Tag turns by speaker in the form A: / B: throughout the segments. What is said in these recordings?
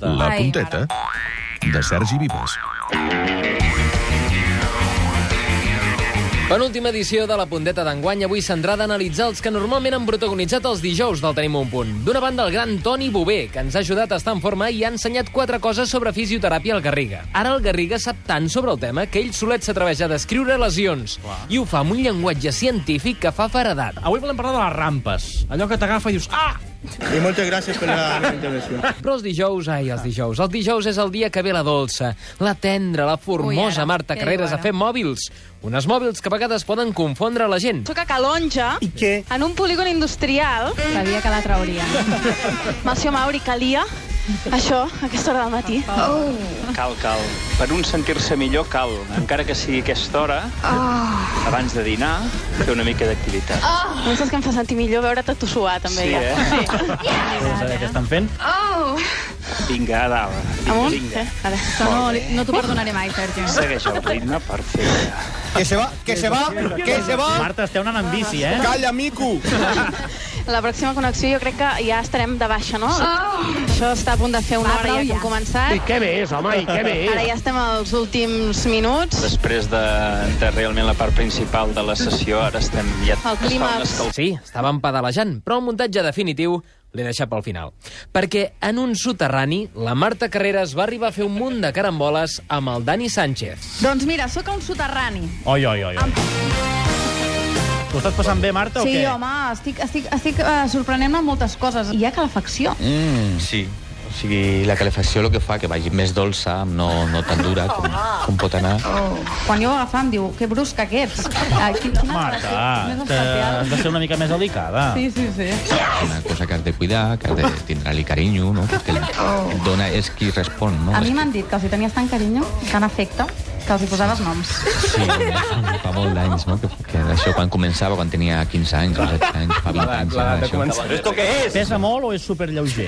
A: La
B: Ai,
A: punteta de Sergi Vives.
C: Penúltima edició de la Pondeta d'enguany, avui centrada a analitzar els que normalment han protagonitzat els dijous del Tenim un punt. D'una banda, el gran Toni Bové, que ens ha ajudat a estar en forma i ha ensenyat quatre coses sobre fisioteràpia al Garriga. Ara el Garriga sap tant sobre el tema que ell solet s'atreveix a descriure lesions i ho fa amb un llenguatge científic que fa faradat.
D: Avui volem parlar de les rampes. Allò que t'agafa i dius... Ah!
E: Y muchas gracias por la la intervención.
C: Però els dijous, ai, els dijous. Els dijous és el dia que ve la dolça, la tendra, la formosa
B: Ui, ara, eh?
C: Marta
B: què
C: Carreras
B: diu
C: a
B: ara?
C: fer mòbils. Unes mòbils que a vegades poden confondre la gent.
F: Soc a Calonja,
E: ¿Y qué?
F: en un polígon industrial,
B: Sabia que la trauria.
F: Mació Mauri calia, això, a aquesta hora del matí.
B: Ah.
G: Cal, cal. Per un sentir-se millor, cal. Encara que sigui aquesta hora,
F: Ah.
G: abans de dinar, fer una mica d'activitat.
F: Oh, Penses que em fa sentir millor veure-te tu suar, també.
G: Sí,
F: ja.
G: eh?
D: No saber què estan fent.
G: Vinga, a dalt.
F: Oh. Amunt?
G: Vinga.
F: Eh? Ara.
B: Això no, li- no t'ho perdonaré mai, Sergi.
G: Segueix el ritme, perfecte.
H: Que se va, que se va, que se va.
D: Marta, esteu anant amb bici, eh?
H: Calla, mico.
F: La pròxima connexió jo crec que ja estarem de baixa, no? Això està a punt de fer una
B: Ah. Va,
F: hora
B: prou
F: ja que
B: ja.
F: hem començat.
D: Què més, home, i què
F: Ara ja estem als últims minuts.
G: Després de, de realment la part principal de la sessió, ara estem ja...
F: El clímax.
G: es fa un escalf-
C: Sí, estàvem pedalejant, però el muntatge definitiu l'he deixat pel final. Perquè en un soterrani, la Marta Carreras va arribar a fer un munt de caramboles amb el Dani Sánchez.
B: Doncs mira, sóc a un soterrani.
D: Oi, oi, oi. oi. T'ho estàs passant bé, Marta, o
B: Sí,
D: què?
B: home, estic, estic, estic uh, sorprenent-me amb moltes coses. Hi ha calefacció.
D: Mm.
I: Sí, o sigui, la calefacció el que fa que vagi més dolça, no, no tan dura
B: Oh,
I: com, com pot anar.
B: Quan jo ho agafava em diu, que brusca que ets. Ah, quin- quina
D: Marta,
B: relació més
D: te-
B: especial.
D: has de ser una mica més delicada.
B: Sí, sí, sí.
I: Una cosa que has de cuidar, que has de tindre-li carinyo, no? Perquè el, el dona és qui respon, no?
B: Oh. A mi m'han dit que els hi tenies tant carinyo, tant afecte, que els hi posaves noms.
I: Sí, fa molt d'anys, no? Que, que això quan començava, quan tenia 15 anys, 17 anys, fa 20 anys, era això.
G: Esto qué es?
D: Pesa molt o és superlleuger?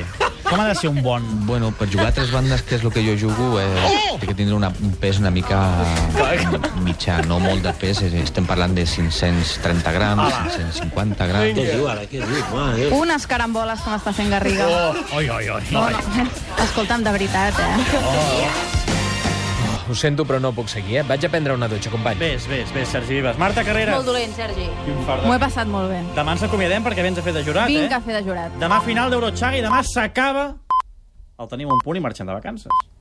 D: Com ha de ser un bon...
I: Bueno, per jugar a tres bandes, que és el que jo jugo,
B: Oh!
I: eh, té que tindre una, un pes una mica mitjà, no molt de pes, eh, estem parlant de 530 grams, 550 grams.
B: Unes caramboles que m'està fent Garriga.
D: Oh, Oi, oi, oi.
B: No, no. Escolta'm, de veritat, eh?
C: Ho sento, però no puc seguir, eh? Vaig a prendre una dutxa, company.
D: Ves, ves, ves, Sergi Vives. Marta Carreras.
J: Molt dolent, Sergi.
D: Quin fart
B: M'ho
D: de-
B: he passat molt bé.
D: Demà ens acomiadem perquè vens a fer de jurat,
B: Vinc a
D: eh?
B: fer de jurat.
D: Demà final d'Eurochaga i demà s'acaba... El tenim un punt i marxem de vacances.